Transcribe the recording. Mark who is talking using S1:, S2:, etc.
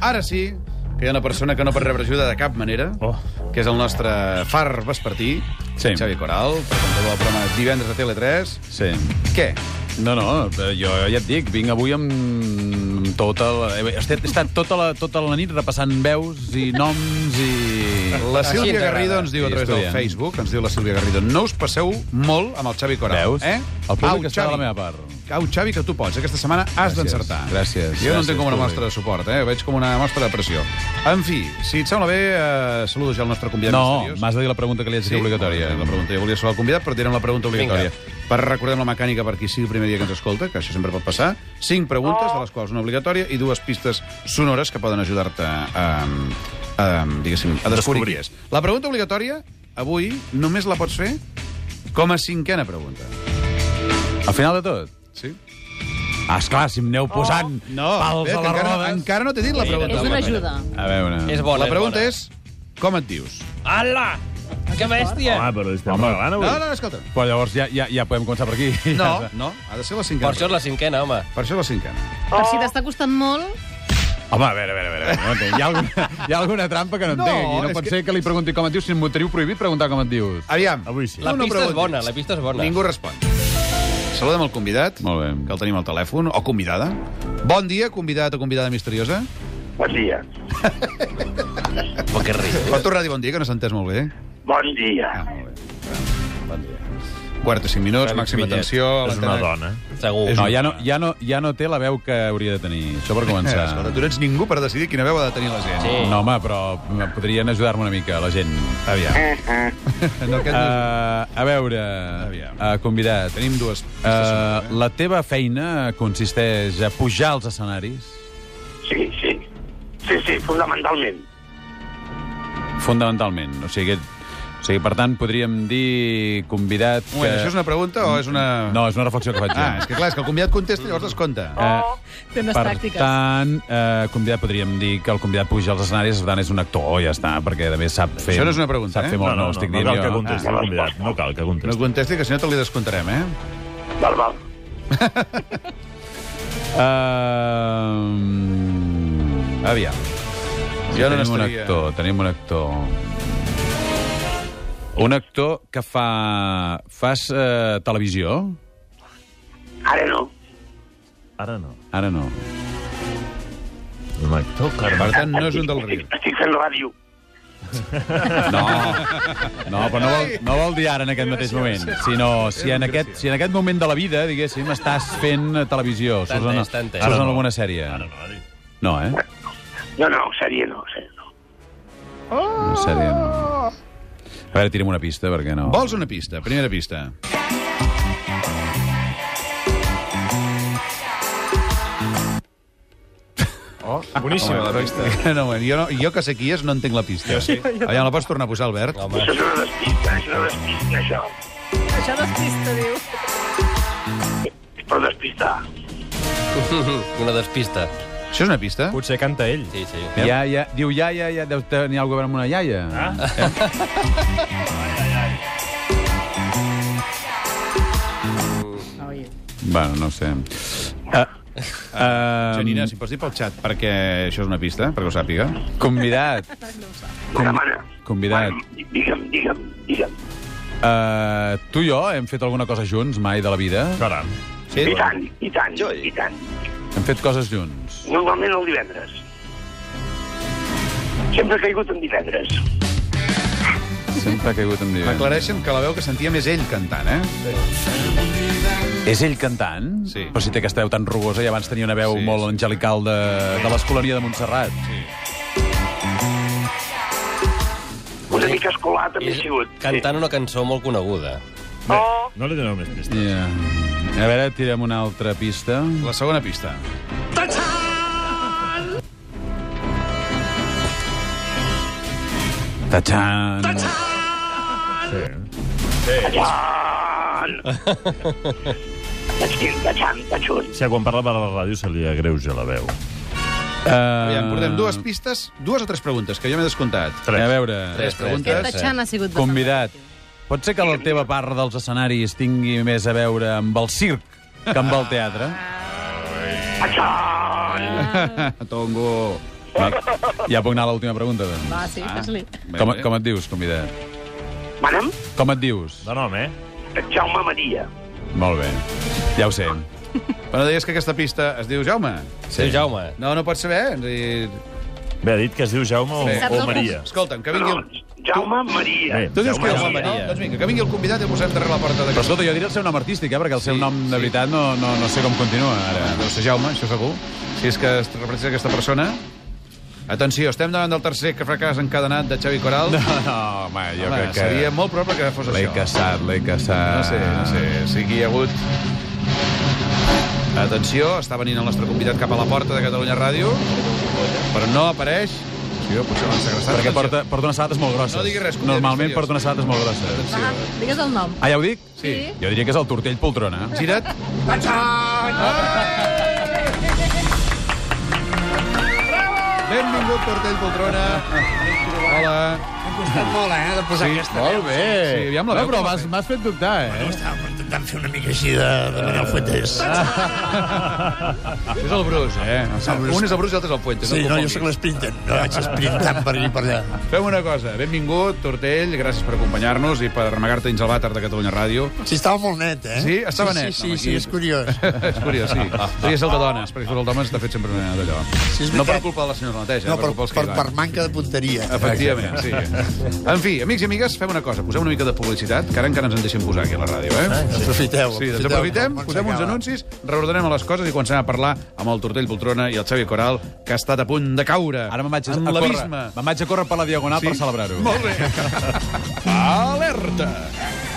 S1: Ara sí que hi ha una persona que no pot rebre ajuda de cap manera,
S2: Oh.
S1: que és el nostre far vespertí,
S2: Sí.
S1: Xavi Coral, presentador del programa Divendres de Tele3.
S2: Sí.
S1: Què?
S2: No, no, eh, jo ja et dic, vinc avui amb tota la... He estat, he estat tota, la, tota la nit repassant veus i noms i...
S1: La Sílvia
S3: t'agrada.
S1: Garrido ens diu a
S2: Sí,
S1: través del
S2: estudiant.
S1: Facebook, ens diu la Sílvia Garrido, no us passeu molt amb el Xavi Coral.
S2: Veus?
S1: Eh?
S2: El
S1: Au,
S2: públic està
S1: Xavi.
S2: de la meva part.
S1: Au, Xavi, que tu pots. Aquesta setmana has
S2: Gràcies.
S1: d'encertar.
S2: Gràcies,
S1: Jo no
S2: gràcies,
S1: entenc com una
S2: públic.
S1: mostra de suport, eh? Veig com una mostra de pressió. En fi, si et sembla bé, eh, saludo ja el nostre convidat
S2: No,
S1: misteriós.
S2: m'has de dir la pregunta que li haig de
S1: Sí,
S2: dir obligatòria. eh,
S1: La pregunta, jo volia saber el convidat, però tirem la pregunta obligatòria. Vinga. Per recordem la mecànica per qui sigui el primer dia que ens escolta, que això sempre pot passar. Cinc preguntes, de les quals una obligatòria, i dues pistes sonores que poden ajudar-te a, a, a, diguéssim, a descobrir qui és. La pregunta obligatòria, avui, només la pots fer com a cinquena pregunta.
S2: Al final de tot?
S1: Sí?
S2: Ah, esclar, si em aneu posant pals
S1: espera,
S2: a
S1: Oh, que
S2: les
S1: encara,
S2: rodes...
S1: encara no t'he dit la pregunta.
S4: És una ajuda.
S2: A veure...
S3: És bona,
S1: La pregunta
S3: bona.
S1: és, com et dius?
S3: Ala! Ah, Que bèstia!
S5: Home, però estem Home. regalant avui.
S1: No, no, escolta.
S2: Però llavors ja, ja, ja podem començar per aquí.
S1: No, no, ha de ser la cinquena.
S3: Per això és la cinquena, home.
S1: per això és la cinquena.
S4: Per si t'està costant molt,
S2: Home, a veure, a veure, a veure. No entenc. hi, ha alguna, hi ha alguna trampa que no
S1: No,
S2: entenc aquí. No
S1: és
S2: pot
S1: que-
S2: que... ser que li pregunti com et dius, si m'ho teniu prohibit preguntar com et dius.
S1: Aviam.
S5: Avui sí.
S3: La
S1: No, no
S3: pista és
S1: preguntis.
S3: bona, la pista és bona.
S1: Ningú respon. Saludem el convidat,
S2: Molt bé.
S1: que el tenim al telèfon, o convidada. Bon dia, convidat o convidada misteriosa.
S6: Bon dia.
S3: Però que riu.
S1: Pot tornar a dir bon dia, que no s'ha entès molt bé.
S6: Bon dia.
S1: Ah, molt bé. Bon dia. Quarta, cinc minuts,
S3: Fèlix
S1: màxima
S3: Millet.
S1: atenció. a
S5: És una
S1: l'antena.
S5: dona.
S3: Segur.
S2: No, ja no, ja, no, ja no té la veu que hauria de tenir. Això per
S1: Eh,
S2: començar.
S1: Escolta, tu no ets ningú per decidir quina veu ha de tenir la gent.
S3: Sí.
S2: No, home, però m- podrien ajudar-me una mica, la gent.
S1: Aviam. No, aquest no és...
S2: Uh, a veure,
S1: Aviam.
S2: uh, convidat,
S1: Tenim dues pistes.
S2: uh, la teva feina consisteix a pujar als escenaris?
S6: Sí, sí. Sí, sí, fonamentalment.
S2: Fundamentalment. O sigui, que- o sigui, per tant, podríem dir convidat...
S1: Un moment, això és una pregunta o és una...
S2: No, és una reflexió que faig jo.
S1: Ah, és que clar, és que el convidat contesta i llavors es compta.
S2: Eh,
S4: té unes
S2: per
S4: tàctiques.
S2: tant, eh, convidat podríem dir que el convidat puja als escenaris, per tant, és un actor, oh, ja està, perquè també sap fer...
S1: Això no és una pregunta,
S2: sap
S1: eh?
S2: fer
S5: No,
S2: molt,
S5: no, no,
S2: estic
S5: no
S2: dient
S5: cal que
S2: jo.
S5: contesti
S3: Ah.
S5: el convidat. No cal que
S1: No
S5: contesti.
S1: contesti, que si no te li descomptarem, eh?
S6: Val, val.
S2: Eh, aviam.
S1: Jo no
S2: tenim un
S1: n'estaria.
S2: actor, tenim un actor... Un actor que fa... Fas eh, televisió?
S6: Ara no.
S5: Ara no.
S2: Ara no.
S5: Un actor que...
S1: Per tant, no és un del riu.
S6: Estic, estic fent ràdio.
S2: No, no però no vol, no vol dir ara en aquest mateix moment, sinó si en aquest, si en aquest moment de la vida, diguéssim, estàs fent televisió, surts en,
S3: T'entens, t'entens.
S2: surts
S5: Ara
S2: en
S5: no.
S2: alguna sèrie.
S5: Ara no, dic.
S2: No, eh?
S6: No, no, seria no, seria no.
S2: Una sèrie no. A veure, tirem una pista, perquè no...
S1: Vols una pista? Primera pista.
S2: Oh,
S5: Boníssim.
S1: Home, la pista. No, home, jo, no, jo que sé qui és, no entenc la pista. Jo sí. Aviam, la pots tornar a posar, Albert?
S3: Home,
S6: Això és una despista, és una despista, això.
S4: Això despista, diu.
S6: És per despistar.
S3: una despista.
S1: Això és una pista?
S5: Potser canta ell.
S3: Sí, sí.
S2: Ja, ja, diu ja, ja, ja, deu tenir alguna cosa amb una iaia. Ah?
S4: Ai.
S2: Bueno, no ho sé. Uh, uh,
S1: Janina, si pots dir pel xat, perquè això és una pista, perquè ho sàpiga.
S2: Convidat,
S6: Com... Demana.
S2: convidat.
S6: Bueno, digue'm, digue'm, digue'm.
S2: Uh, tu i jo hem fet alguna cosa junts mai de la vida?
S5: Caram.
S1: Sí?
S6: I tant, i tant, i tant.
S2: Hem fet coses junts.
S6: Normalment el divendres. Sempre he caigut en divendres.
S2: Sempre ha caigut
S1: Ah,
S2: en divendres.
S1: M'aclareixen que la veu que sentia més ell cantant, eh?
S2: És ell cantant?
S1: Sí.
S2: Però si té aquesta veu tan rugosa i abans tenia una veu
S1: Sí,
S2: sí, molt
S1: sí.
S2: angelical de, de l'escolania de Montserrat.
S6: Una mica escolar també he
S3: És
S6: sigut.
S3: cantant una cançó molt coneguda.
S5: Bé, no li doneu més pistes.
S2: Yeah. A veure, tirem una altra pista.
S1: La segona pista.
S2: Tachan!
S5: Sí. eh?
S6: Tachim, tacham, tachun.
S5: Si quan parla per la ràdio se li agreuja la veu.
S1: Aviam,
S2: Aviam,
S1: portem dues pistes, dues o tres preguntes, que jo m'he descomptat.
S2: A veure,
S1: Tres
S4: Aquest
S1: preguntes.
S4: tachant ha sigut...
S2: convidat, pot ser que la teva part dels escenaris tingui més a veure amb el circ que amb el teatre?
S6: Tacham!
S1: Tongo.
S2: Va, ja puc anar a l'última pregunta, doncs.
S4: Va, sí, fes-li.
S2: Com, com et dius, convidat?
S6: Manem?
S2: Com et dius?
S5: De nom, eh?
S6: Jaume Maria.
S2: Molt bé. Ja ho sé.
S1: Però deies que aquesta pista es diu Jaume.
S3: Sí. Jaume.
S1: No, no pots saber. és a dir,
S5: Bé, ha dit que es diu Jaume
S2: Oh,
S5: o,
S1: Bé.
S4: Saps
S5: o
S4: el
S5: Maria.
S1: Escolta'm, que vingui...
S6: No,
S1: El...
S6: Jaume Maria.
S5: Bé.
S1: Tu dius
S5: Jaume
S1: que és
S3: Jaume
S1: Maria.
S3: Maria.
S1: No? Doncs vinga, que vingui el convidat i el posem darrere la porta
S2: Però
S1: d'aquesta.
S2: escolta, jo diré el seu nom artístic, eh, perquè el seu
S1: Sí,
S2: nom, de
S1: sí.
S2: veritat, no, no, no sé com continua, ara.
S1: Deu ser Jaume, això segur. Si és que es representa aquesta persona... Atenció, estem davant del tercer que fracàs encadenat de Xavi Coral.
S2: No, no, home, jo
S1: Home,
S2: crec que...
S1: seria molt probable que fos
S2: L'he
S1: això.
S2: caçat, l'he caçat...
S1: No sé, no sé. Sí que hi ha hagut... Atenció, està venint el nostre convidat cap a la porta de Catalunya Ràdio, però no apareix. Sí, potser l'han segrestat.
S2: Perquè
S1: Atenció.
S2: porta, porta unes sabates molt grosses.
S1: No diguis res, convidat
S2: Normalment
S1: misteriós.
S2: porta unes sabates molt grosses.
S4: Va, digues el nom.
S2: Ah, ja ho dic?
S4: Ah, Sí.
S2: Jo diria que és el tortell poltrona.
S1: Ah. Gira't. Ai! Benvingut, Tortell Poltrona. Hola.
S7: M'ha costat molt, eh, de posar sí, aquesta veu.
S2: bé.
S1: Sí, aviam la
S2: no,
S1: veu
S2: però
S1: que
S2: m'has m'has fet dubtar, eh?
S7: Estàvem intentant fer una mica així de, de
S1: Ah.
S7: Manuel Fuentes.
S1: Això és el Bruce, eh?
S7: Bruce.
S1: Un és el Bruce i l'altre és el Fuente.
S7: Sí,
S1: no,
S7: no,
S1: el
S7: jo sóc l'esprintant, no vaig esprintant per aquí i per allà.
S1: Fem una cosa. Benvingut, Tortell. Gràcies per acompanyar-nos i per amagar-te dins el vàter de Catalunya Ràdio.
S7: Sí, estava molt net, eh?
S1: Sí? Estava
S7: sí,
S1: net,
S7: Sí,
S1: home,
S7: sí,
S1: aquí.
S7: sí, és curiós.
S1: és curiós, sí. Podria ser el de dones, perquè el d'homes t'ha fet sempre una d'allò.
S7: Sí, és
S1: no per
S7: veritat.
S1: culpa de la senyora Neteja,
S7: No,
S1: per,
S7: per,
S1: culpa dels que
S7: per,
S1: hi van.
S7: per manca de punteria.
S1: Efectivament, sí. En fi, amics i amigues, fem una cosa. Posem una mica de publicitat, que ara encara ens en deixem posar aquí a la ràdio, eh?
S7: Aprofiteu.
S1: Sí, doncs
S7: aprofiteu,
S1: aprofitem,
S7: que el món
S1: posem uns
S7: s'acaba.
S1: anuncis, reordenem les coses i comencem a parlar amb el Tortell Poltrona i el Xavi Coral, que ha estat a punt de caure.
S2: Ara me'n vaig a,
S1: en
S2: a córrer.
S1: l'abisme.
S2: Me'n vaig a córrer per la diagonal
S1: Sí?
S2: per celebrar-ho.
S1: Molt bé. Alerta!